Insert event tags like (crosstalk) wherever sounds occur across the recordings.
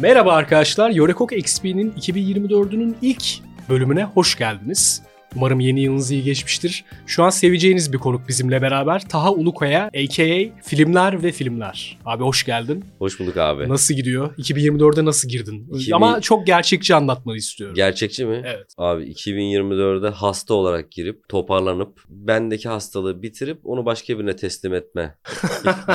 Merhaba arkadaşlar, Yorekok XP'nin 2024'ünün ilk bölümüne hoş geldiniz. Umarım yeni yılınız iyi geçmiştir. Şu an seveceğiniz bir konuk bizimle beraber Taha Ulukaya aka Filmler ve Filmler. Abi hoş geldin. Hoş bulduk abi. Nasıl gidiyor? 2024'e nasıl girdin? 2000 Ama çok gerçekçi anlatmanı istiyorum. Gerçekçi mi? evet. Abi 2024'de hasta olarak girip toparlanıp bendeki hastalığı bitirip onu başka birine (laughs) teslim etme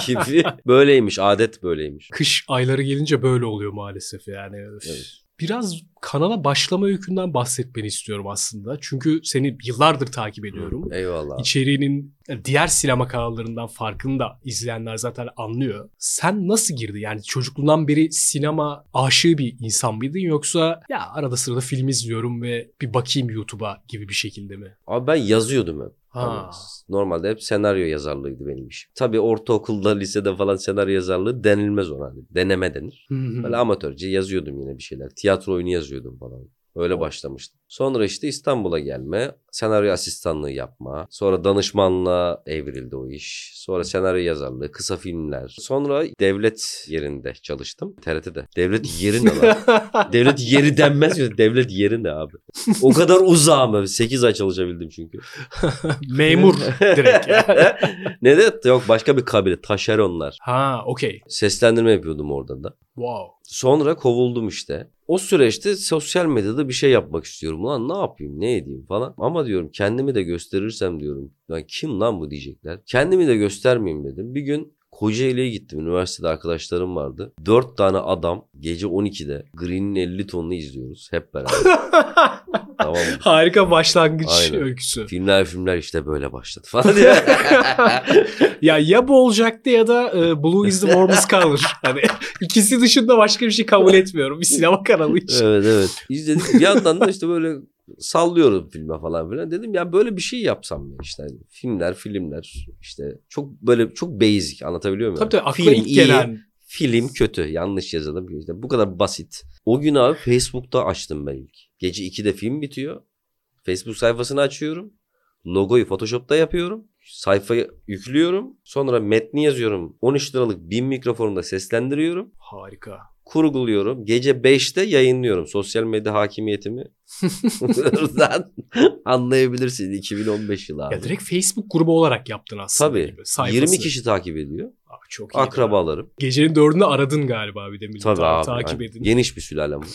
gibi böyleymiş adet böyleymiş. Kış ayları gelince böyle oluyor maalesef yani. Üf. Evet. Biraz kanala başlama öykünden bahsetmeni istiyorum aslında. Çünkü seni yıllardır takip ediyorum. Eyvallah. abi. içeriğinin diğer sinema kanallarından farkını da izleyenler zaten anlıyor. Sen nasıl girdi? Yani çocukluğundan beri sinema aşığı bir insan mıydın yoksa ya arada sırada film izliyorum ve bir bakayım YouTube'a gibi bir şekilde mi? Abi ben yazıyordum hep. Ha. Normalde hep senaryo yazarlığıydı benim işim. Tabii ortaokulda, lisede falan senaryo yazarlığı denilmez ona. Hani deneme denir. Hı hı. Böyle amatörce yazıyordum yine bir şeyler. Tiyatro oyunu yazıyordum falan. Öyle başlamıştım. Sonra işte İstanbul'a gelme, senaryo asistanlığı yapma. Sonra danışmanlığa evrildi o iş. Sonra senaryo yazarlığı, kısa filmler. Sonra devlet yerinde çalıştım. TRT'de. Devlet yeri ne (laughs) lan? devlet yeri denmez mi? Devlet yeri ne abi? O kadar uzağım abi. 8 ay çalışabildim çünkü. Memur direkt. (laughs) ya. (laughs) ne de yok başka bir kabile. Taşeronlar. ha okey. Seslendirme yapıyordum orada da. Wow. Sonra kovuldum işte. O süreçte sosyal medyada bir şey yapmak istiyorum. Lan ne yapayım ne edeyim falan. Ama diyorum kendimi de gösterirsem diyorum. Lan kim lan bu diyecekler. Kendimi de göstermeyeyim dedim. Bir gün Kocaeli'ye gittim. Üniversitede arkadaşlarım vardı. Dört tane adam gece 12'de Green'in 50 tonunu izliyoruz hep beraber. tamam mı? Harika başlangıç Aynen. öyküsü. (laughs) Filmler filmler işte böyle başladı falan diye. ya ya bu olacaktı ya da e, Blue is the warmest color. Hani (laughs) ikisi dışında başka bir şey kabul etmiyorum bir sinema kanalı için. evet (laughs) evet. İzledik. Şey Bir yandan da işte böyle sallıyorum filme falan filan. Dedim ya böyle bir şey yapsam ya işte hani filmler, filmler işte çok böyle çok basic anlatabiliyor muyum? Tabii tabii akla Film ilk iyi, gelen. Film kötü. Yanlış yazalım. İşte bu kadar basit. O gün abi Facebook'ta açtım ben ilk. Gece 2'de film bitiyor. Facebook sayfasını açıyorum. Logoyu Photoshop'ta yapıyorum. Sayfayı yüklüyorum. Sonra metni yazıyorum. 13 liralık bin mikrofonunda seslendiriyorum Harika. kurguluyorum. Gece 5'te yayınlıyorum. Sosyal (laughs) medya hakimiyetimi. Buradan anlayabilirsin 2015 yılı abi. Ya direkt Facebook grubu olarak yaptın aslında. Tabii. gibi. Sayfası. 20 kişi takip ediyor. Aa, çok iyi. Akrabalarım. Gecenin dördünde aradın galiba bir de milleti Tabii abi. takip yani edin. Geniş bir sülalem. var.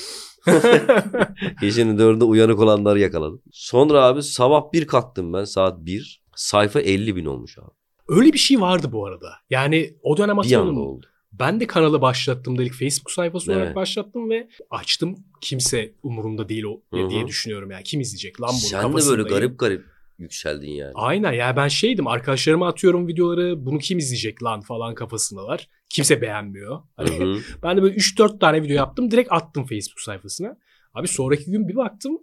Gecenin dördünde uyanık olanları yakaladım. Sonra abi sabah bir kalktım ben saat 1. Sayfa 50 bin olmuş abi. (laughs) Öyle bir şey vardı bu arada. Yani o dönem Bir anda hatırlıyorum. oldu. Ben de kanalı başlattığımda ilk Facebook sayfası olarak Evet. başlattım ve açtım. Kimse umurumda değil o Hı hı. diye düşünüyorum. Yani kim izleyecek lan bunu Sen de böyle kafasındayım. garip garip yükseldin yani. Aynen ya ben şeydim arkadaşlarıma atıyorum videoları bunu kim izleyecek lan falan kafasındalar. Kimse beğenmiyor. Hani Hı hı. Ben de böyle 3-4 tane video yaptım. Direkt attım Facebook sayfasına. Abi sonraki gün bir baktım.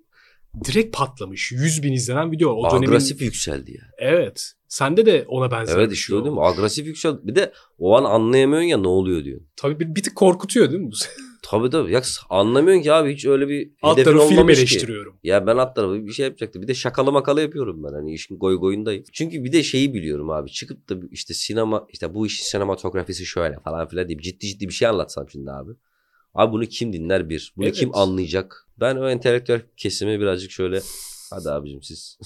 Direkt patlamış. 100 bin izlenen video. O dönemin... Agresif yükseldi yani. Evet. Sende de ona benzer Evet bir işte şey öyle değil oldu. mi? Agresif yükseldi. Bir de o an anlayamıyorsun ya ne oluyor diyor. Tabii bir, bir tık korkutuyor değil mi bu? Tabii tabii. Ya anlamıyorsun ki abi hiç öyle bir Alt hedefin tarafı film olmamış ki. eleştiriyorum. Ya ben alt tarafı bir şey yapacaktım. Bir de şakalı makalı yapıyorum ben. Hani işin goy goyundayım. Çünkü bir de şeyi biliyorum abi. Çıkıp da işte sinema işte bu işin sinematografisi şöyle falan filan deyip ciddi ciddi bir şey anlatsam şimdi abi. Abi bunu kim dinler bir? Bunu Evet. kim anlayacak? Ben o entelektüel kesimi birazcık şöyle hadi abicim siz.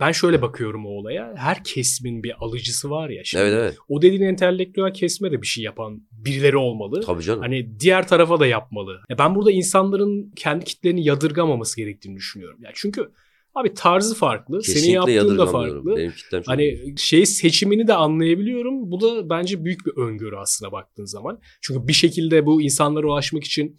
Ben şöyle bakıyorum o olaya. Her kesimin bir alıcısı var ya. Şimdi evet evet. O dediğin entelektüel kesme de bir şey yapan birileri olmalı. Tabii canım. Hani diğer tarafa da yapmalı. Ya ben burada insanların kendi kitlerini yadırgamaması gerektiğini düşünüyorum. Ya çünkü abi tarzı farklı, senin Kesinlikle yaptığın da yadırgamıyorum. farklı. Benim kitlem çok iyi. Hani şey seçimini de anlayabiliyorum. Bu da bence büyük bir öngörü aslında baktığın zaman. Çünkü bir şekilde bu insanlara ulaşmak için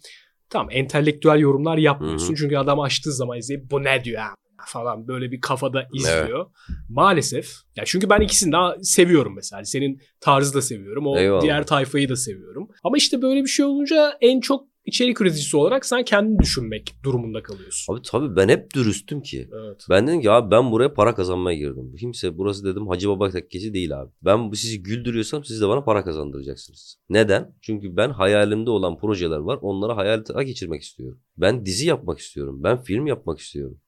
tamam entelektüel yorumlar yapmıyorsun. Hı hı. Çünkü adam açtığı zaman izleyip bu ne diyor ha?" falan böyle bir kafada izliyor. Maalesef. Ya çünkü ben ikisini de seviyorum mesela. Hani Senin tarzı da seviyorum. O Eyvallah. diğer tayfayı da seviyorum. Ama işte böyle bir şey olunca en çok içerik üreticisi olarak sen kendini düşünmek durumunda kalıyorsun. Abi tabii ben hep dürüstüm ki. Evet. Ben dedim ki abi ben buraya para kazanmaya girdim. Kimse burası dedim Hacı Baba tekkesi değil abi. Ben bu sizi güldürüyorsam siz de bana para kazandıracaksınız. Neden? Çünkü ben hayalimde olan projeler var. Onlara hayal geçirmek istiyorum. Ben dizi yapmak istiyorum. Ben film yapmak istiyorum.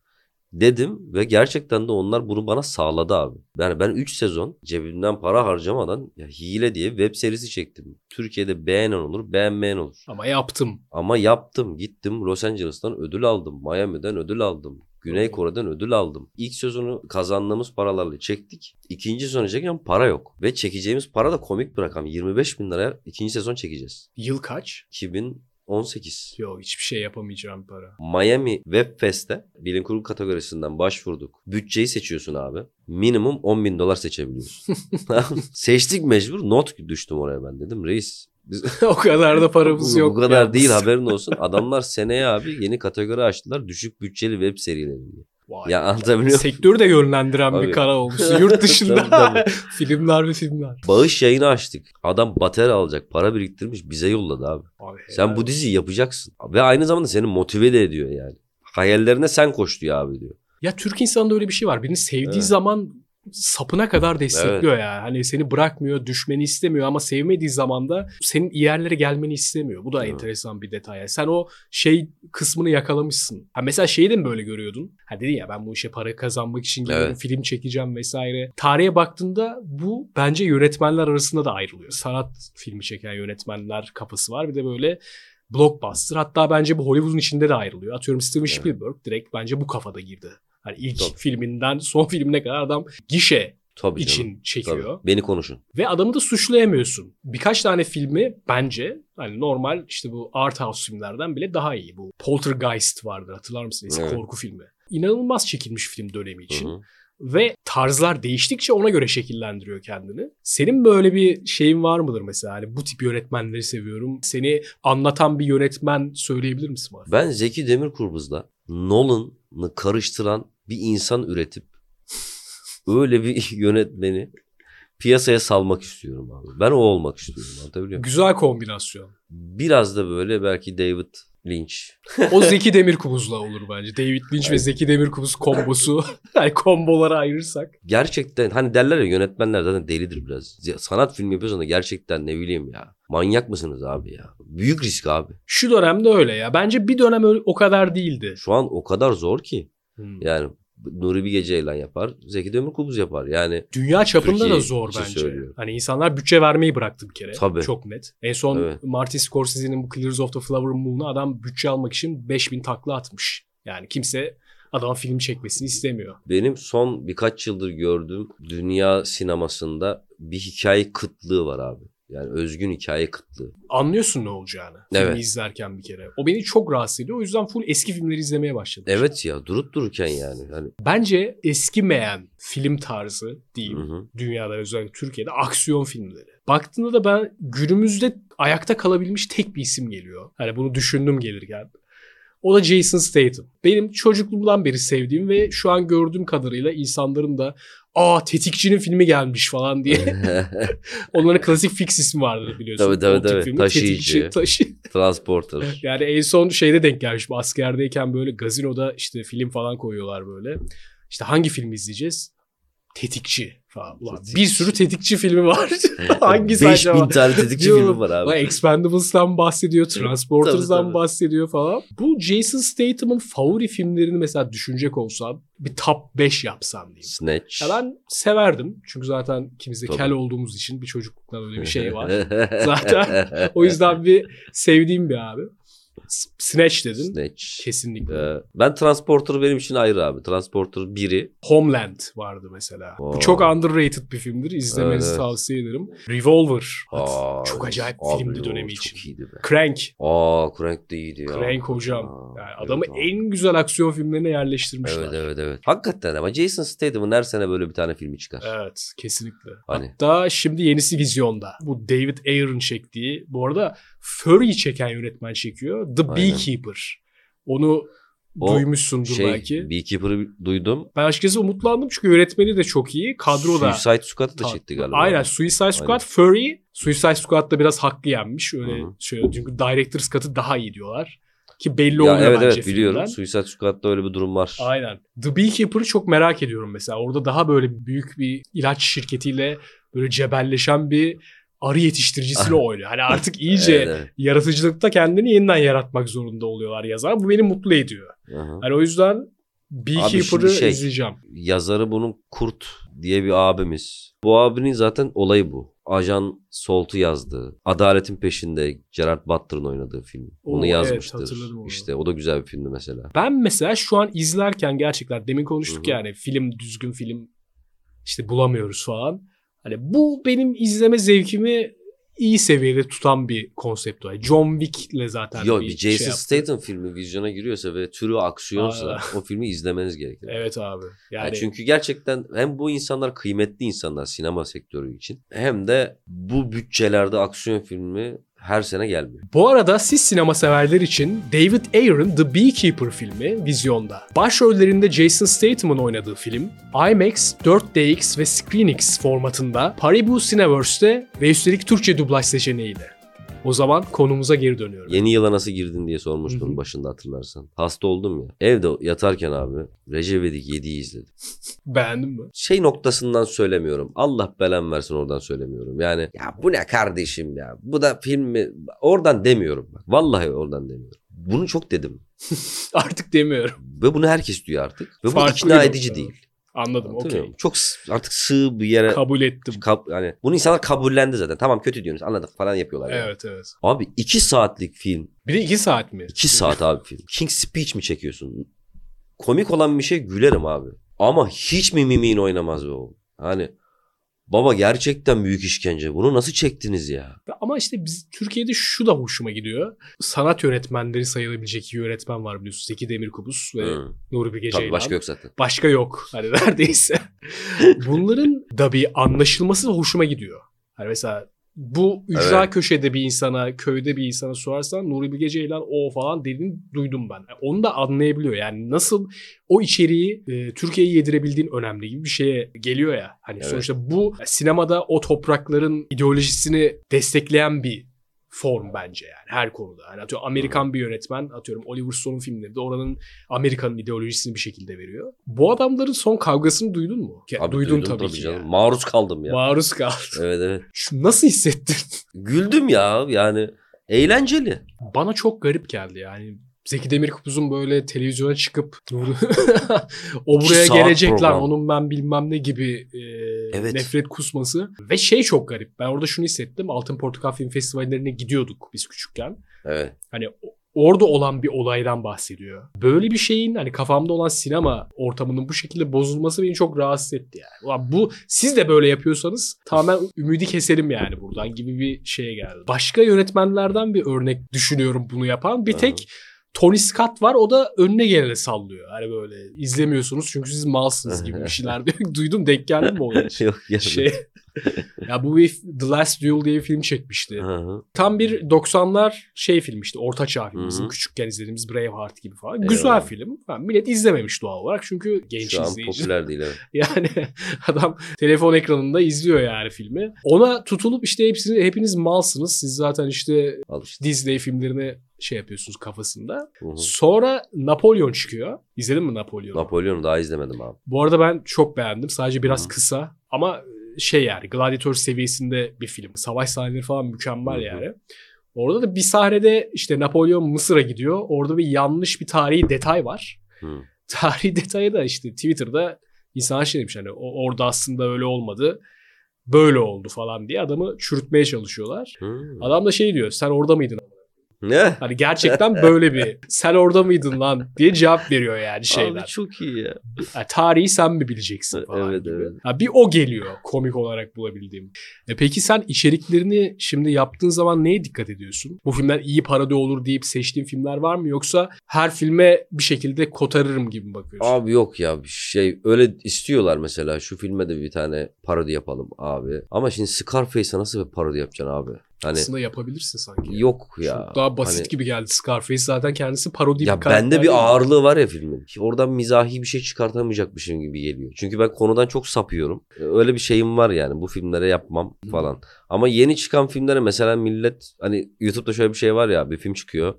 dedim ve gerçekten de onlar bunu bana sağladı abi. Yani ben 3 sezon cebimden para harcamadan ya hile diye web serisi çektim. Türkiye'de beğenen olur, beğenmeyen olur. Ama yaptım. Ama yaptım. Gittim Los Angeles'tan ödül aldım. Miami'den ödül aldım. Güney Kore'den ödül aldım. İlk sezonu kazandığımız paralarla çektik. İkinci sezonu çeken para yok. Ve çekeceğimiz para da komik bir rakam. 25 bin liraya ikinci sezon çekeceğiz. Yıl kaç? 2018. Yok hiçbir şey yapamayacağım para. Miami Web Fest'te bilim kurgu kategorisinden başvurduk. Bütçeyi seçiyorsun abi. Minimum 10 bin dolar seçebiliyorsun. Seçtik mecbur. Not düştüm oraya ben dedim. Reis biz (laughs) o kadar da paramız bu, yok. bu kadar yalnız. (laughs) değil haberin olsun. Adamlar seneye abi yeni kategori açtılar. Düşük bütçeli web serileri diye. Vay. Ya anlatabiliyor (laughs) muyum? Sektörü de yönlendiren Tabii. bir kanal (laughs) olmuşsun. Yurt Tabii, dışında tabii. (laughs) filmler ve filmler. Bağış yayını açtık. Adam bateri alacak. Para biriktirmiş. Bize yolladı abi. E Abi, Sen bu diziyi yapacaksın. Ve aynı zamanda seni motive de ediyor yani. Hayallerine sen koş diyor abi diyor. Ya Türk insanında öyle bir şey var. Birini sevdiği Evet. zaman sapına kadar destekliyor ya. Hani seni bırakmıyor, düşmeni istemiyor ama sevmediği zaman da senin iyi yerlere gelmeni istemiyor. Bu da Evet. enteresan bir detay. Yani sen o şey kısmını yakalamışsın. Ha mesela şeyi de mi böyle görüyordun? Ha dedin ya ben bu işe para kazanmak için gidiyorum, Evet. film çekeceğim vesaire. Tarihe baktığında bu bence yönetmenler arasında da ayrılıyor. Sanat filmi çeken yönetmenler kafası var. Bir de böyle blockbuster. Hatta bence bu Hollywood'un içinde de ayrılıyor. Atıyorum Steven Evet. Spielberg direkt bence bu kafada girdi. Hani ilk Tabii. filminden son filmine kadar adam gişe Tabii canım. için Tabii. çekiyor. Beni konuşun. Ve adamı da suçlayamıyorsun. Birkaç tane filmi bence hani normal işte bu art house filmlerden bile daha iyi. Bu Poltergeist vardır hatırlar mısın? Eski Evet. korku filmi. İnanılmaz çekilmiş film dönemi için. Hı hı. Ve tarzlar değiştikçe ona göre şekillendiriyor kendini. Senin böyle bir şeyin var mıdır mesela? Hani bu tip yönetmenleri seviyorum. Seni anlatan bir yönetmen söyleyebilir misin bana? Ben Zeki Demirkubuz'la Nolan'ı karıştıran bir insan üretip öyle bir (laughs) yönetmeni piyasaya salmak istiyorum abi. Ben o olmak istiyorum anlatabiliyor muyum? Güzel kombinasyon. Biraz da böyle belki David Lynch. O Zeki Demirkubuz'la olur bence. David Lynch ve Zeki Demirkubuz kombosu. (laughs) yani kombolara ayırırsak. Gerçekten hani derler ya yönetmenler zaten delidir biraz. Ya Sanat filmi yapıyorsan da gerçekten ne bileyim ya. Manyak mısınız abi ya? Büyük risk abi. Şu dönemde öyle ya. Bence bir dönem öyle- o kadar değildi. Şu an o kadar zor ki. Hmm. Yani Nuri Bilge Ceylan yapar. Zeki Demirkubuz yapar. Yani Dünya çapında Türkiye da zor için bence. söylüyorum. Hani insanlar bütçe vermeyi bıraktı bir kere. Tabii. Çok net. En son Evet. Martin Scorsese'nin bu Killers of the Flower Moon'u adam bütçe almak için 5000 takla atmış. Yani kimse adam film çekmesini istemiyor. Benim son birkaç yıldır gördüğüm dünya sinemasında bir hikaye kıtlığı var abi. Yani özgün hikaye kıtlığı. Anlıyorsun ne olacağını. Evet. Filmi izlerken bir kere. O beni çok rahatsız ediyor. O yüzden full eski filmleri izlemeye başladım. Evet ya durup dururken yani. hani, yani Bence eskimeyen film tarzı diyeyim. hı (laughs) hı. dünyada özellikle Türkiye'de aksiyon filmleri. Baktığında da ben günümüzde ayakta kalabilmiş tek bir isim geliyor. Hani bunu düşündüm gelirken. O da Jason Statham. Benim çocukluğumdan beri sevdiğim ve şu an gördüğüm kadarıyla insanların da aa tetikçinin filmi gelmiş falan diye. (laughs) Onların klasik fix ismi vardır biliyorsun. Tabii, tabii, O tip tabii. filmi. Taşıyıcı. Tetikçi, taşı- Transporter. yani en son şeyde denk gelmiştim. Askerdeyken böyle gazinoda işte film falan koyuyorlar böyle. İşte hangi filmi izleyeceğiz? Tetikçi falan. Ulan Tetikçi. bir sürü tetikçi filmi (laughs) var. Hangisi 5000 acaba? tane tetikçi Diyorum, filmi var Ulan abi. Expendables'tan bahsediyor, Tabii, Transporters'dan tabii. bahsediyor falan. Bu Jason Statham'ın favori filmlerini mesela düşünecek olsam bir top 5 yapsam diyeyim. Snatch. Ya ben severdim. Çünkü zaten ikimiz de Tabii. kel olduğumuz için bir çocukluktan öyle bir (laughs) şey var. Zaten O yüzden bir sevdiğim bir abi. S- Snatch dedin. Snatch. Kesinlikle. Ee, ben Transporter benim için ayrı abi. Transporter 1'i Homeland vardı mesela. Oo. Bu çok underrated bir filmdir. İzlemenizi Evet. tavsiye ederim. Revolver. Aa, çok acayip abi filmdi o dönemi çok için. iyiydi be. Crank. Aa Crank de iyiydi ya. Crank hocam. Aa, Yani adamı evet abi. en güzel aksiyon filmlerine yerleştirmişler. Evet Evet, evet evet. Hakikaten ama Jason Statham'ın her sene böyle bir tane filmi çıkar. Ee, kesinlikle. Hani? Hatta şimdi yenisi vizyonda. Bu David Ayer'ın çektiği. Bu arada Furry çeken yönetmen çekiyor. The Aynen. Beekeeper. Onu O duymuşsundur şey, belki. Beekeeper'ı duydum. Ben açıkçası umutlandım çünkü yönetmeni de çok iyi. Kadro da Suicide Squad'ı da Ta- çekti galiba. Aynen Suicide Aynen. Squad Furry Suicide Squad'da biraz hakkı yenmiş. Öyle Hı hı. şöyle çünkü Director's Cut'ı daha iyi diyorlar. Ki belli Ya oluyor evet bence evet biliyorum. filmden. Suicide Squad'da öyle bir durum var. Aynen. The Beekeeper'ı çok merak ediyorum mesela. Orada daha böyle büyük bir ilaç şirketiyle böyle cebelleşen bir arı (laughs) yetiştiricisiyle oynuyor. Hani artık iyice Evet, evet. yaratıcılıkta kendini yeniden yaratmak zorunda oluyorlar yazar. Bu beni mutlu ediyor. Aha. Hani o yüzden Beekeeper'ı şimdi şey- izleyeceğim. Yazarı bunun Kurt diye bir abimiz. Bu abinin zaten olayı bu. Ajan Solt'u yazdı. Adaletin Peşinde Gerard Butler'ın oynadığı film. Oo, Onu evet, yazmıştır. hatırladım onu. işte o da güzel bir filmdi mesela. Ben mesela şu an izlerken gerçekten demin konuştuk Hı hı. yani film düzgün film işte bulamıyoruz falan. Hani bu benim izleme zevkimi iyi seviyede tutan bir konsept var. John Wick'le zaten Yo bir, bir şey Jason yaptı. Statham filmi vizyona giriyorsa ve türü aksiyonsa Aa. o filmi izlemeniz gerekir. (laughs) Evet abi. Yani, Yani çünkü gerçekten hem bu insanlar kıymetli insanlar sinema sektörü için hem de bu bütçelerde aksiyon filmi her sene gelmiyor. bu arada siz sinema severler için David Ayer'ın The Beekeeper filmi vizyonda. Başrollerinde Jason Statham'ın oynadığı film IMAX, 4DX ve ScreenX formatında Paribu Cineverse'de ve üstelik Türkçe dublaj seçeneğiyle. O zaman konumuza geri dönüyorum. Yeni yıla nasıl girdin diye Hı sormuştun hı. başında hatırlarsan. Hasta oldum ya. Evde yatarken abi Recep İvedik 7'yi izledim. Beğendin mi? (laughs) Şey noktasından söylemiyorum. Allah belen versin oradan söylemiyorum. Yani ya bu ne kardeşim ya. Bu da film mi? Oradan demiyorum. bak. Vallahi oradan demiyorum. Bunu çok dedim. Artık demiyorum. Ve bunu herkes duyuyor artık. Ve bu Farklı bir ikna nokta. edici değil. Anladım. Anlatabiliyor Okey. muyum? Çok s- artık sığ bir yere Kabul ettim. Kab- yani bunu insanlar kabullendi zaten. Tamam kötü diyorsunuz anladık falan yapıyorlar. yani. Evet evet. Abi iki saatlik film. Bir de iki saat mi? iki saat abi film. King Speech mi çekiyorsun? Komik olan bir şey gülerim abi. Ama hiç mi mimiğin oynamaz be oğlum. Hani baba gerçekten büyük işkence. Bunu nasıl çektiniz ya? Ama işte biz Türkiye'de şu da hoşuma gidiyor. Sanat yönetmenleri sayılabilecek iki yönetmen var biliyorsunuz. Zeki Demirkubuz ve şey Hı. Nuri Bilge Tabii Ceylan. başka yok zaten. Başka yok. Hani (laughs) neredeyse. Bunların da bir anlaşılması hoşuma gidiyor. Hani mesela bu ücra köşede bir insana, köyde bir insana sorarsan Nuri Bilge Ceylan o falan dediğini duydum ben. Yani Onu da anlayabiliyor. Yani nasıl o içeriği e, Türkiye'ye yedirebildiğin önemli gibi bir şeye geliyor ya. Hani Evet. sonuçta bu sinemada o toprakların ideolojisini destekleyen bir form bence yani her konuda. Yani atıyorum Amerikan bir yönetmen atıyorum Oliver Stone'un filmlerinde oranın Amerika'nın ideolojisini bir şekilde veriyor. Bu adamların son kavgasını duydun mu? Ya, Abi E, duydum, duydum tabii, ki. canım. yani. Maruz kaldım ya. Maruz kaldım. (laughs) evet evet. Şu nasıl hissettin? (laughs) Güldüm ya yani. Eğlenceli. Bana çok garip geldi yani. Zeki Demirkubuz'un böyle televizyona çıkıp "Nuri, (laughs) o İki buraya saat gelecek lan program. onun ben bilmem ne gibi e, Evet. nefret kusması. Ve şey çok garip. Ben orada şunu hissettim. Altın Portakal Film Festivallerine gidiyorduk biz küçükken. (laughs) Evet. Hani o- orada olan bir olaydan bahsediyor. Böyle bir şeyin hani kafamda olan sinema ortamının bu şekilde bozulması beni çok rahatsız etti yani. Ulan bu siz de böyle yapıyorsanız tamamen ümidi keselim yani buradan gibi bir şeye geldi. Başka yönetmenlerden bir örnek düşünüyorum bunu yapan. Bir Hı. tek Tony Scott var o da önüne gelene sallıyor. Hani böyle izlemiyorsunuz çünkü siz malsınız gibi bir şeyler diyor. Duydum denk geldi mi ona? Yok ya. Şey, ya bu bir The Last Duel diye bir film çekmişti. Hı hı. Tam bir 90'lar şey film işte orta çağ filmi. Hı hı. Bizim küçükken izlediğimiz Braveheart gibi falan. Eyvallah. Güzel film. Ha, millet izlememiş doğal olarak çünkü genç Şu an izleyici. popüler değil evet. (laughs) Yani adam telefon ekranında izliyor yani filmi. Ona tutulup işte hepsini hepiniz malsınız. Siz zaten işte Al işte. Disney filmlerini şey yapıyorsunuz kafasında. Hı hı. Sonra Napolyon çıkıyor. İzledin mi Napolyon'u? Napolyon'u daha izlemedim abi. Bu arada ben çok beğendim. Sadece biraz Hı. kısa ama şey yani gladyatör seviyesinde bir film. Savaş sahneleri falan mükemmel Hı hı. yani. Orada da bir sahnede işte Napolyon Mısır'a gidiyor. Orada bir yanlış bir tarihi detay var. Hı. (laughs) Tarihi detayı da işte Twitter'da insan şey demiş hani "O- orada aslında öyle olmadı. Böyle oldu falan diye adamı çürütmeye çalışıyorlar. Hı. Adam da şey diyor sen orada mıydın? Ne? Hani gerçekten böyle (laughs) bir sen orada mıydın lan diye cevap veriyor yani şeyler. Abi çok iyi ya. Ya tarihi sen mi bileceksin falan Evet, gibi. evet. Ha, bir o geliyor komik olarak bulabildiğim. E peki sen içeriklerini şimdi yaptığın zaman neye dikkat ediyorsun? Bu filmler iyi parodi olur deyip seçtiğin filmler var mı? Yoksa her filme bir şekilde kotarırım gibi mi bakıyorsun? Abi yok ya bir şey öyle istiyorlar mesela şu filme de bir tane parodi yapalım abi. Ama şimdi Scarface'e nasıl bir parodi yapacaksın abi? Hani Aslında yapabilirsin sanki. yok Çok ya. daha basit Hani- gibi geldi Scarface zaten kendisi parodi Ya karakter bende değil mi? bir ağırlığı var ya filmin. Oradan mizahi bir şey çıkartamayacakmışım gibi geliyor. Çünkü ben konudan çok sapıyorum. Ee, Öyle bir şeyim var yani bu filmlere yapmam falan. Ama yeni çıkan filmlere mesela millet hani YouTube'da şöyle bir şey var ya bir film çıkıyor.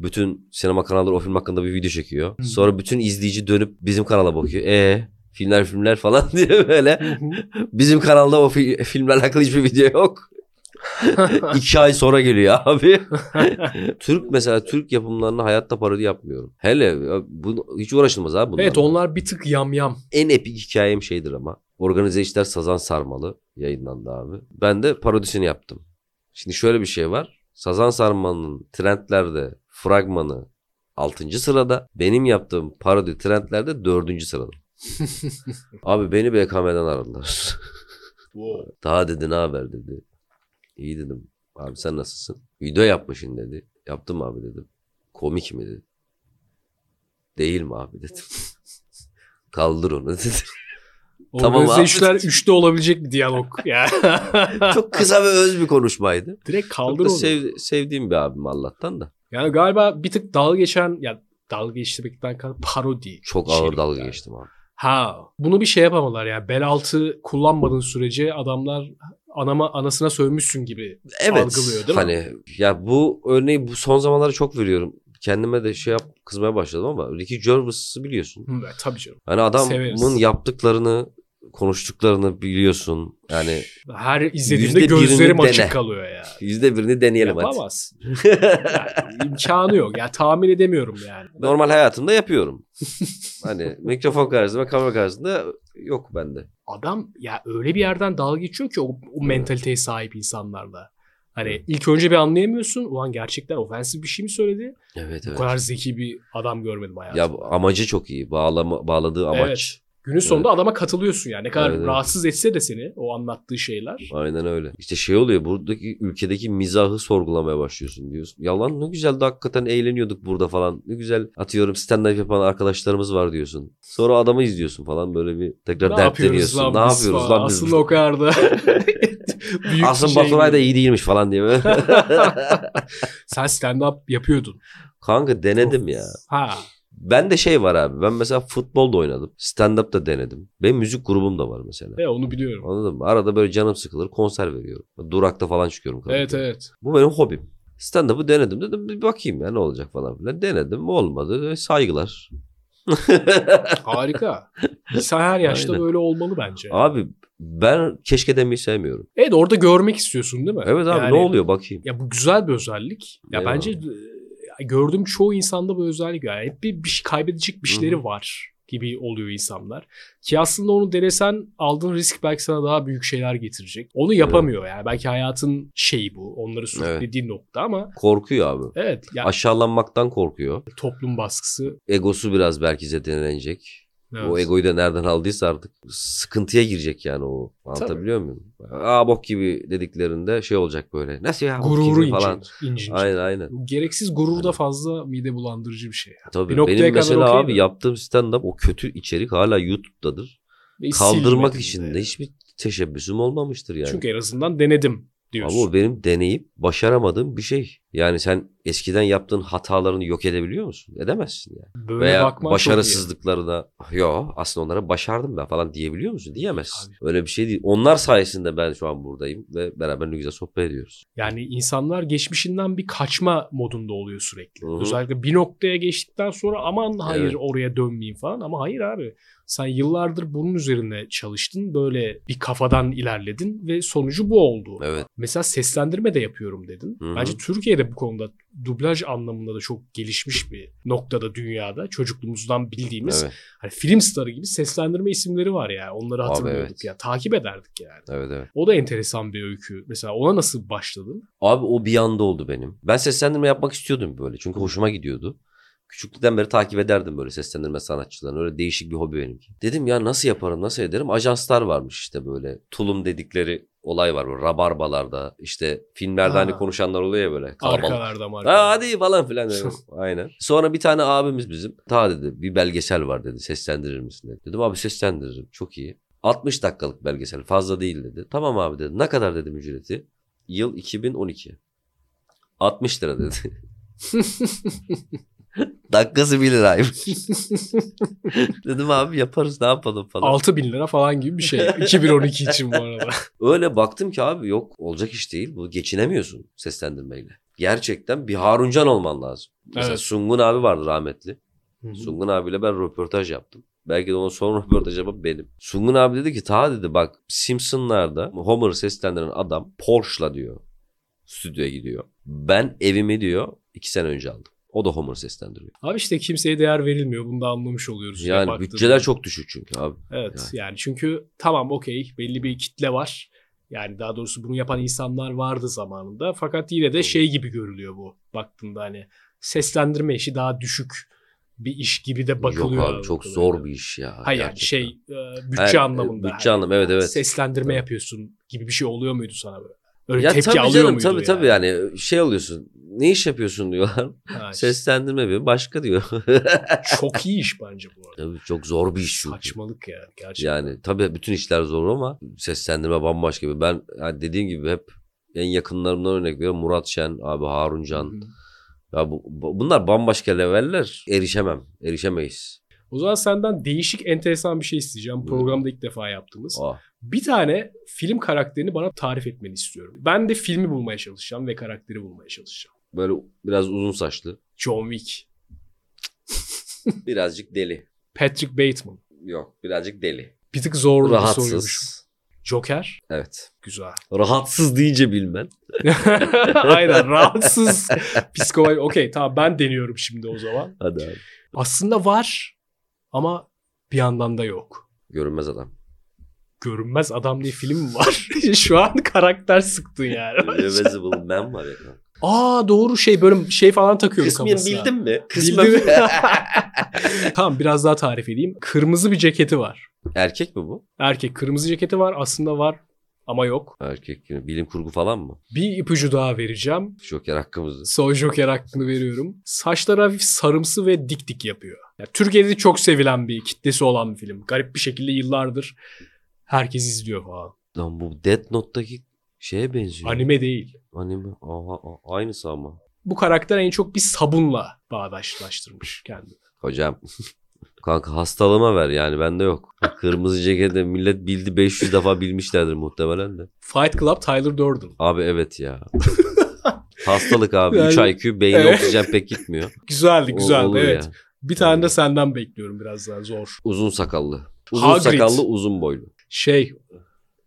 Bütün sinema kanalları o film hakkında bir video çekiyor. Hı. Sonra bütün izleyici dönüp bizim kanala bakıyor. E filmler filmler falan (laughs) diye böyle. Hı hı. Bizim kanalda o fi- filmlerle alakalı hiçbir video yok. (laughs) İki ay sonra geliyor abi. (laughs) Türk mesela Türk yapımlarına hayatta parodi yapmıyorum. Hele bu, hiç uğraşılmaz abi (laughs) bunlarla. evet onlar bir tık yam yam. En epik hikayem şeydir ama. Organize İşler Sazan Sarmalı yayınlandı abi. Ben de parodisini yaptım. Şimdi şöyle bir şey var. Sazan Sarmalı'nın trendlerde fragmanı 6. sırada. Benim yaptığım parodi trendlerde 4. sırada. abi beni BKM'den aradılar. Daha dedi ne haber dedi. İyi dedim. Abi sen nasılsın? Video yapmışsın dedi. Yaptım abi dedim. Komik mi dedi. Değil mi abi dedim. (laughs) Kaldır onu dedi. Tamam Organize abi. işler üçte olabilecek bir diyalog. (laughs) ya. Çok kısa ve öz bir konuşmaydı. Direkt kaldır Çok da onu. sev- sevdiğim bir abim Allah'tan da. Yani galiba bir tık dalga geçen ya dalga geçtirmekten kal parodi. Çok ağır içerikler. dalga geçtim abi. Ha bunu bir şey yapamadılar ya. Bel altı kullanmadığın sürece adamlar anama anasına sövmüşsün gibi. Evet. Algılıyor, değil mi? hani ya bu örneği bu son zamanlarda çok veriyorum. Kendime de şey yap kızmaya başladım ama Ricky Gervais'ı biliyorsun. Hı, evet, tabii canım. Hani adamın Severiz. yaptıklarını, konuştuklarını biliyorsun. Yani Her izlediğimde Yüzde birini gözlerim dene. açık kalıyor ya. yüzde birini deneyelim hadi. Yapamaz. yani, imkanı yok. Ya tahmin edemiyorum yani. Normal hayatımda yapıyorum. hani mikrofon karşısında, kamera karşısında yok bende. Adam ya öyle bir yerden dalga geçiyor ki o, o Evet. mentaliteye sahip insanlarla. Hani Evet. ilk önce bir anlayamıyorsun. Ulan gerçekten ofensif bir şey mi söyledi? Evet Bu kadar zeki bir adam görmedim hayatımda. Ya bu amacı çok iyi. Bağlama, bağladığı amaç. Günün sonunda adama katılıyorsun yani. Ne kadar Evet, evet. rahatsız etse de seni o anlattığı şeyler. Aynen öyle. İşte şey oluyor buradaki ülkedeki mizahı sorgulamaya başlıyorsun diyorsun. Yalan ne güzel de hakikaten eğleniyorduk burada falan. Ne güzel atıyorum stand-up yapan arkadaşlarımız var diyorsun. Sonra adamı izliyorsun falan böyle bir tekrar dertleniyorsun. biz ne yapıyoruz falan? lan biz? Aslında o kadar da (laughs) büyük Asım bir şey Baturay da değil. iyi değilmiş (laughs) falan diye. Sen stand-up yapıyordun. Kanka denedim ya. Ha. Ben de şey var abi. Ben mesela futbolda oynadım. Stand-up da denedim. Benim müzik grubum da var mesela. E, onu biliyorum. Anladın mı? Arada böyle canım sıkılır konser veriyorum. Durakta falan çıkıyorum. Evet evet. Bu benim hobim. Stand-up'ı denedim dedim bir bakayım ya ne olacak falan filan. Denedim olmadı. E, Saygılar. Harika. İnsan her yaşta Aynen. böyle olmalı bence. Abi ben keşke demeyi sevmiyorum. Evet orada görmek istiyorsun değil mi? Evet abi Yani- ne oluyor bakayım. Ya bu güzel bir özellik. Ya Eyvallah. bence e, gördüğüm çoğu insanda bu özellik var. Yani hep bir, bir şey kaybedecek bir şeyleri var gibi oluyor insanlar. Ki aslında onu denesen aldığın risk belki sana daha büyük şeyler getirecek. Onu yapamıyor yani. Belki hayatın şeyi bu. Onları sürüklediği nokta ama Korkuyor abi. evet ya Aşağılanmaktan korkuyor. toplum baskısı Egosu biraz belki zedelenecek. evet. O egoyu da nereden aldıysa artık sıkıntıya girecek yani o. Anlatabiliyor muyum? Aa bok gibi dediklerinde şey olacak böyle. Nasıl ya bok gururu gibi falan. Hani- incinecek. incinecek. Aynen aynen. Bu Gereksiz gurur da Aynen. fazla mide bulandırıcı bir şey. yani. Tabii Bir noktaya benim kadar mesela okey abi de. yaptığım stand-up o kötü içerik hala YouTube'dadır. Ve Kaldırmak silmedim de için yani. de hiçbir teşebbüsüm olmamıştır yani. Çünkü en azından denedim Ama diyorsun. o benim deneyip başaramadığım bir şey. Yani sen eskiden yaptığın hatalarını yok edebiliyor musun? Edemezsin yani. Böyle Veya bakman çok iyi. başarısızlıklarına yo aslında onlara başardım ben falan diyebiliyor musun? Diyemezsin. Abi. Öyle bir şey değil. Onlar sayesinde ben şu an buradayım ve beraber ne güzel sohbet ediyoruz. Yani insanlar geçmişinden bir kaçma modunda oluyor sürekli. Hı hı. Özellikle bir noktaya geçtikten sonra aman hayır Evet. oraya dönmeyeyim falan ama hayır abi. Sen yıllardır bunun üzerine çalıştın. Böyle bir kafadan ilerledin ve sonucu bu oldu. Evet. Mesela seslendirme de yapıyorum dedin. Hı hı. Bence Türkiye'de bu konuda dublaj anlamında da çok gelişmiş bir noktada dünyada. Çocukluğumuzdan bildiğimiz Evet. hani film starı gibi seslendirme isimleri var ya. Onları Abi hatırlıyorduk evet. ya. Takip ederdik yani. Evet evet. O da enteresan bir öykü. Mesela ona nasıl başladın? Abi o bir anda oldu benim. Ben seslendirme yapmak istiyordum böyle. Çünkü hoşuma gidiyordu. Küçüklükten beri takip ederdim böyle seslendirme sanatçılarını. Öyle değişik bir hobi benimki. Dedim ya nasıl yaparım nasıl ederim? Ajanslar varmış işte böyle. Tulum dedikleri olay var. Böyle rabarbalarda işte filmlerde Ha. hani konuşanlar oluyor ya böyle. Kalabalık. Arkalarda (laughs) Ha markalarda. hadi falan filan. Evet, Aynen. Sonra bir tane abimiz bizim. Ta dedi bir belgesel var dedi. Seslendirir misin dedi. Dedim abi seslendiririm. Çok iyi. 60 dakikalık belgesel fazla değil dedi. Tamam abi dedi. Ne kadar dedim ücreti? Yıl 2012. 60 lira dedi. (laughs) Dakikası 1 liraymış. (laughs) dedim abi yaparız ne yapalım falan. 6 bin lira falan gibi bir (laughs) şey. 2012 için bu arada. Öyle baktım ki abi yok olacak iş değil. Bu geçinemiyorsun seslendirmeyle. Gerçekten bir Haruncan olman lazım. Mesela Evet. Sungun abi vardı rahmetli. Sungun abiyle ben röportaj yaptım. Belki de onun son (laughs) röportaj yapan benim. Sungun abi dedi ki ta dedi bak Simpsonlarda Homer seslendiren adam Porsche'la diyor. stüdyoya gidiyor. Ben evimi diyor iki sene önce aldım. O da Homer seslendiriyor. Abi işte kimseye değer verilmiyor. Bunu da anlamış oluyoruz. Yani Baktığımda. bütçeler çok düşük çünkü abi. Evet yani çünkü tamam okey belli bir kitle var. Yani daha doğrusu bunu yapan insanlar vardı zamanında. Fakat yine de şey gibi görülüyor bu baktığında hani seslendirme işi daha düşük bir iş gibi de bakılıyor. Yok abi çok zor bir iş ya. Hayır yani gerçekten. şey e, bütçe Hayır, e, anlamında. Bütçe hani anlamı evet evet. Seslendirme Tabii. yapıyorsun gibi bir şey oluyor muydu sana böyle? Öyle ya tepki tabii alıyor canım muydu tabii yani? tabii yani şey alıyorsun. Ne iş yapıyorsun diyorlar. (laughs) Ha, işte Seslendirme bir başka diyor. (laughs) (laughs) çok iyi iş bence bu arada. tabii çok zor bir iş çünkü. Saçmalık ya gerçekten. Yani tabii bütün işler zor ama seslendirme bambaşka bir. Ben yani dediğim gibi hep en yakınlarımdan örnek veriyorum. Murat Şen, abi Harun Can. Hı. Ya bu, bu- bunlar bambaşka leveller. Erişemem. Erişemeyiz. O zaman senden değişik enteresan bir şey isteyeceğim. Programda ilk defa yaptığımız. Aa, Bir tane film karakterini bana tarif etmeni istiyorum. Ben de filmi bulmaya çalışacağım ve karakteri bulmaya çalışacağım. böyle biraz uzun saçlı. John Wick, Birazcık deli. Patrick Bateman. Yok birazcık deli. Bir tık zor bir soruymuş. Rahatsız. Joker. Evet. Güzel. (laughs) Rahatsız deyince bilmen. Aynen (laughs) rahatsız. Psikolog. Okey tamam ben deniyorum şimdi o zaman. Hadi abi. Aslında var ama bir yandan da yok. (laughs) Görünmez adam. Görünmez Adam diye film mi var. (laughs) Şu an karakter sıktın (laughs) yani. Invisible Man var ya. Aa doğru şey böyle şey falan takıyorum Kısmen kafasına. bildin mi? (laughs) Bildim. (laughs) tamam biraz daha tarif edeyim. Kırmızı bir ceketi var. Erkek mi bu? Erkek kırmızı ceketi var aslında var ama yok. Erkek. mi? Bilim kurgu falan mı? Bir ipucu daha vereceğim. Joker hakkımızda. Son Joker hakkını veriyorum. Saçları hafif sarımsı ve dik dik yapıyor. Ya, Türkiye'de çok sevilen bir kitlesi olan bir film. Garip bir şekilde yıllardır herkes izliyor falan. Lan bu Death Note'daki şeye benziyor. Anime değil. Anime. Aha, a- aynısı ama. Bu karakter en çok bir sabunla bağdaşlaştırmış kendini. Hocam. (laughs) Kanka hastalığıma ver yani bende yok. Kırmızı ceketi millet bildi 500 defa bilmişlerdir muhtemelen de. Fight Club Tyler Durden. Abi (laughs) evet ya. Hastalık abi. Yani- 3 IQ beyin Evet. oksijen (laughs) pek gitmiyor. Güzeldi O- güzeldi olur evet. ya. Bir tane de senden bekliyorum biraz daha zor. Uzun sakallı. Uzun Hagrid. sakallı uzun boylu. Şey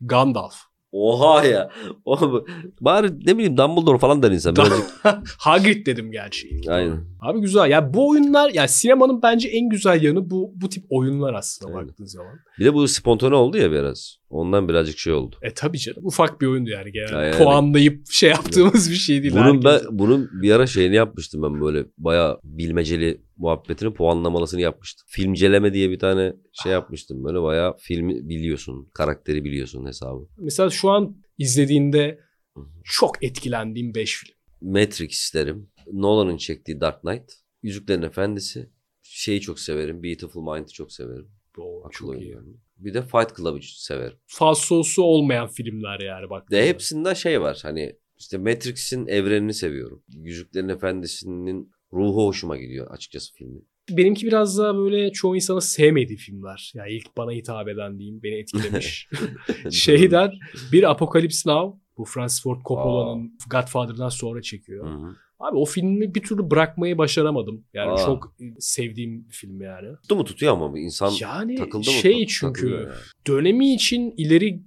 Gandalf. (laughs) Oha ya. Oğlum, bari ne bileyim Dumbledore falan der insan. Dum- Birazcık. Hagrid dedim gerçi. Aynen. Abi güzel. Ya bu oyunlar ya sinemanın bence en güzel yanı bu bu tip oyunlar aslında Aynen. baktığın zaman. Bir de bu spontane oldu ya biraz. Ondan birazcık şey oldu. E tabii canım. Ufak bir oyundu yani genelde. Aynen. Puanlayıp şey yaptığımız bir şey değil. Bunun ben, Herkes- bunun bir ara şeyini yapmıştım ben böyle bayağı bilmeceli muhabbetini puanlamalısını yapmıştım. Filmceleme diye bir tane şey yapmıştım böyle bayağı filmi biliyorsun, karakteri biliyorsun hesabı. Mesela şu an izlediğinde Hı hı. çok etkilendiğim 5 film. Matrix isterim. Nolan'ın çektiği Dark Knight. Yüzüklerin Efendisi. Şeyi çok severim. Beautiful Mind'i çok severim. Oo, Akıl çok oyunu iyi. yani. Bir de Fight Club'ı severim. Falsosu olmayan filmler yani bak. De hepsinde şey var hani işte Matrix'in evrenini seviyorum. Yüzüklerin Efendisi'nin ruhu hoşuma gidiyor açıkçası filmin. Benimki biraz daha böyle çoğu insanın sevmediği filmler. Yani ilk bana hitap eden diyeyim beni (laughs) etkilemiş. (laughs) Şeyden bir Apokalips Now. Bu Francis Ford Coppola'nın Godfather'dan sonra çekiyor. Hı hı. Abi o filmi bir türlü bırakmayı başaramadım. Yani Aa. çok sevdiğim bir film yani. Tuttu mu tutuyor ama bu insan Yani takıldı mı? şey tak- çünkü (laughs) takılıyor yani. dönemi için ileri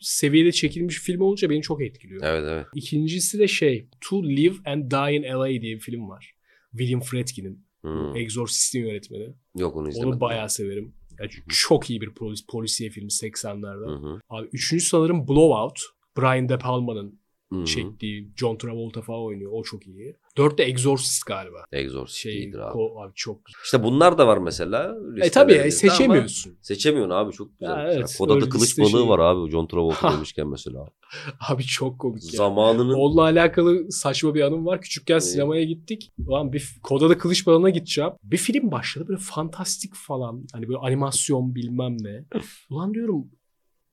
seviyede çekilmiş film olunca beni çok etkiliyor. Evet evet. İkincisi de şey To Live and Die in LA diye bir film var. William Friedkin'in Hı. Exorcist'in yönetmeni. Hmm. Yok onu izlemedim. Onu bayağı severim. Yani çok iyi bir polis, polisiye filmi 80'lerde. Hı hı. Abi üçüncü sanırım Blowout. Brian De Palma'nın Hı Hmm. hı. şey çektiği John Travolta falan oynuyor. O çok iyi. Dört de Exorcist galiba. Exorcist Şey, iyidir abi. o, abi çok İşte bunlar da var mesela. E tabii ya, listelerinizde ama seçemiyorsun. Seçemiyorsun abi çok güzel. Ha, mesela. evet, Kodada öyle kılıç liste balığı şeyi. var abi John Travolta Ha. demişken mesela. (laughs) Abi çok komik ya. Zamanının Onunla alakalı saçma bir anım var. Küçükken Ee. sinemaya gittik. Ulan bir Koda'da Kılıç Balan'a gideceğim. Bir film başladı böyle fantastik falan. Hani böyle animasyon bilmem ne. Ulan diyorum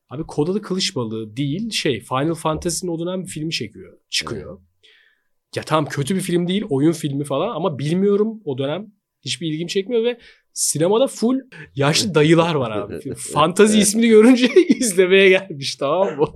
abi Koda'da Kılıç Balığı değil şey Final Fantasy'nin o dönem bir filmi çekiyor. Çıkıyor. Ya tamam kötü bir film değil oyun filmi falan ama bilmiyorum o dönem. Hiçbir ilgim çekmiyor ve sinemada full yaşlı dayılar var abi. Fantazi Evet. ismini görünce (laughs) izlemeye gelmiş tamam mı?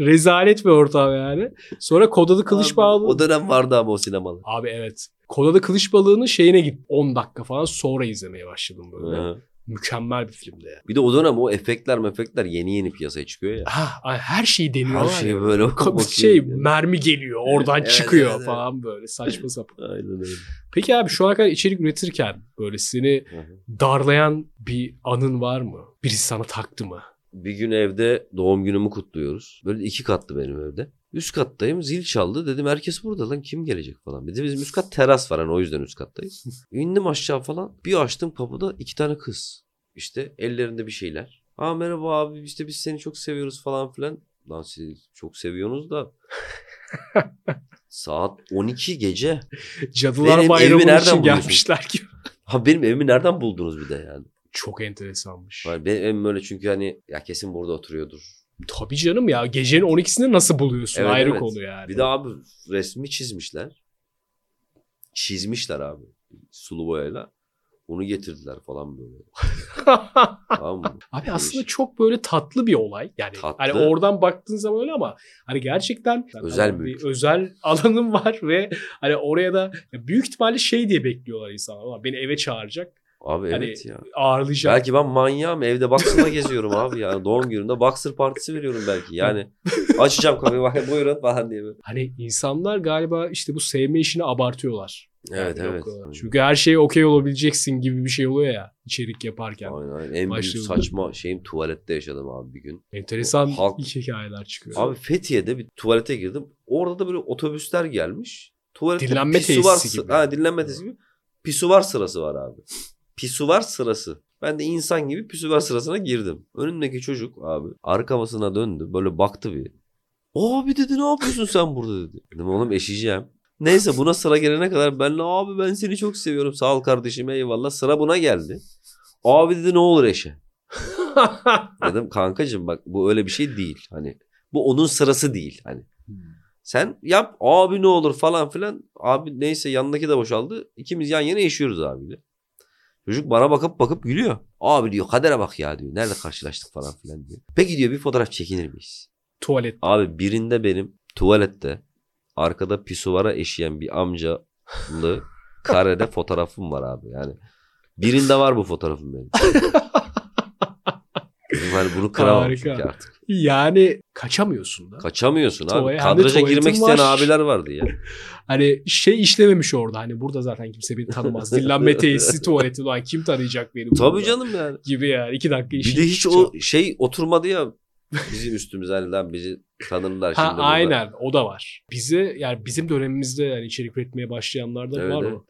Rezalet bir ortam yani. Sonra Kodalı Kılıç Balığı. O dönem vardı abi (laughs) o sinemalar. Abi evet. Kodalı Kılıç Balığı'nın şeyine git. 10 dakika falan sonra izlemeye başladım böyle. Hı. Mükemmel bir filmdi. yani. Bir de o dönem o efektler mefektler yeni yeni piyasaya çıkıyor ya. Ah, ay, her şeyi deniyorlar. Her ya. şey böyle bakıyor. şey mermi geliyor oradan (laughs) Evet, çıkıyor evet, evet. falan böyle saçma sapan. Aynen öyle. Peki abi şu ana kadar içerik üretirken böyle seni Hı hı. darlayan bir anın var mı? Birisi sana taktı mı? Bir gün evde doğum günümü kutluyoruz. Böyle iki katlı benim evde. Üst kattayım zil çaldı dedim herkes burada lan kim gelecek falan. Bir de bizim üst kat teras var hani o yüzden üst kattayız. İndim aşağı falan bir açtım kapıda iki tane kız. İşte ellerinde bir şeyler. Aa merhaba abi işte biz seni çok seviyoruz falan filan. Lan siz çok seviyorsunuz da. Saat 12 gece. Cadılar Benim Bayramı evimi nereden için buluyorsun? gelmişler ki. Ha benim evimi nereden buldunuz bir de yani. Çok enteresanmış. Var, Benim evim öyle çünkü hani ya kesin burada oturuyordur. Tabii canım ya gecenin 12'sinde nasıl buluyorsun Evet, ayrı evet. konu yani. Bir de abi resmi çizmişler. Çizmişler abi. Sulu boyayla. Onu getirdiler falan böyle. tamam (laughs) mı? Abi aslında çok böyle tatlı bir olay. Yani şey. Tatlı. hani oradan baktığın zaman öyle ama hani gerçekten Özel bir mülk. özel (laughs) alanım var ve hani oraya da ya büyük ihtimalle şey diye bekliyorlar insanlar. Ulan beni eve çağıracak, Abi Hani- evet ya. ağırlayacak. Belki ben manyağım evde boxer'la geziyorum abi yani doğum günümde boxer partisi veriyorum belki yani (laughs) açacağım kapıyı bak buyurun falan diye böyle. Hani insanlar galiba işte bu sevme işini abartıyorlar. Evet Yani evet. Hani yok, e, Çünkü her şeye okey olabileceksin gibi bir şey oluyor ya içerik yaparken. Aynen, aynen. En büyük Başlayalım. saçma şeyim tuvalette yaşadım abi bir gün. Enteresan Halk- iki hikayeler çıkıyor. Abi Fethiye'de bir tuvalete girdim. Orada da böyle otobüsler gelmiş. Tuvalette Dinlenme pisuvar tesisi sı- gibi. Ha, dinlenme tesisi gibi. Pisuvar sırası var abi. Pisuvar sırası. Ben de insan gibi pisuvar sırasına girdim. Önümdeki çocuk abi arkamasına döndü. Böyle baktı bir. Abi dedi ne yapıyorsun sen burada dedi. Dedim oğlum eşeceğim. Neyse buna sıra gelene kadar ben abi ben seni çok seviyorum. Sağ ol kardeşim eyvallah. Sıra buna geldi. Abi dedi ne olur eşe. (laughs) Dedim kankacığım bak bu öyle bir şey değil. Hani bu onun sırası değil. Hani sen yap abi ne olur falan filan. Abi neyse yanındaki de boşaldı. İkimiz yan yana yaşıyoruz abiyle. Çocuk bana bakıp bakıp gülüyor. Abi diyor kadere bak ya diyor. Nerede karşılaştık falan filan diyor. Peki diyor bir fotoğraf çekinir miyiz? (laughs) Tuvalet. Abi birinde benim tuvalette arkada pisuvara eşeyen (laughs) bir amcalı karede fotoğrafım var abi. Yani birinde var bu (laughs) fotoğrafım benim. Dedim hani bunu kıramam çünkü Harika. artık. Yani kaçamıyorsun da. Kaçamıyorsun abi. Tuvalet- hem de Kadraja tuvaletin girmek isteyen var. abiler vardı ya. Hani şey işlememiş orada. Hani burada zaten kimse beni (laughs) tanımaz. Dinlenme tesisi tuvaleti. Ulan kim tanıyacak beni? burada? Tabii canım yani. Gibi yani. iki dakika Bir işi. de hiç o şey oturmadı ya bizim üstümüze hani lan bizi tanırlar şimdi. Ha burada. aynen o da var. Bizi yani bizim dönemimizde yani içerik üretmeye başlayanlar da Evet, var evet. o.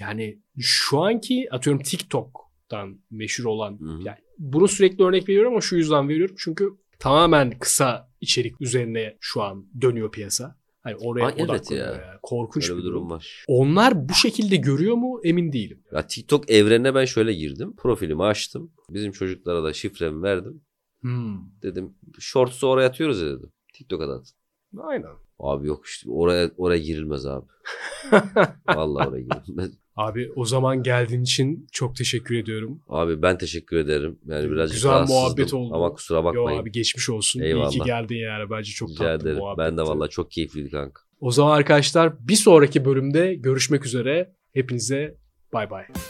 Yani şu anki atıyorum TikTok'tan meşhur olan Hı hı. yani bunu sürekli örnek veriyorum ama şu yüzden veriyorum. Çünkü tamamen kısa içerik üzerine şu an dönüyor piyasa. Hani oraya Ay, evet odaklanıyor. ya. yani. Korkunç Öyle bir durum var. Onlar bu şekilde görüyor mu emin değilim. Ya TikTok evrenine ben şöyle girdim. Profilimi açtım. Bizim çocuklara da şifremi verdim. Hmm. Dedim shorts'u oraya atıyoruz ya dedim. TikTok'a da at. Aynen. Abi yok işte oraya oraya (laughs) girilmez abi. Vallahi oraya girilmez. Abi o zaman geldiğin için çok teşekkür ediyorum. Abi ben teşekkür ederim. Yani birazcık Güzel rahatsızdım muhabbet oldu. Ama kusura Yo bakmayın. abi geçmiş olsun. İyi Eyvallah. ki geldin yani. Bence çok Rica tatlı ederim. muhabbetti. Ben de vallahi çok keyifliydi kanka. O zaman arkadaşlar bir sonraki bölümde görüşmek üzere. Hepinize bay bay.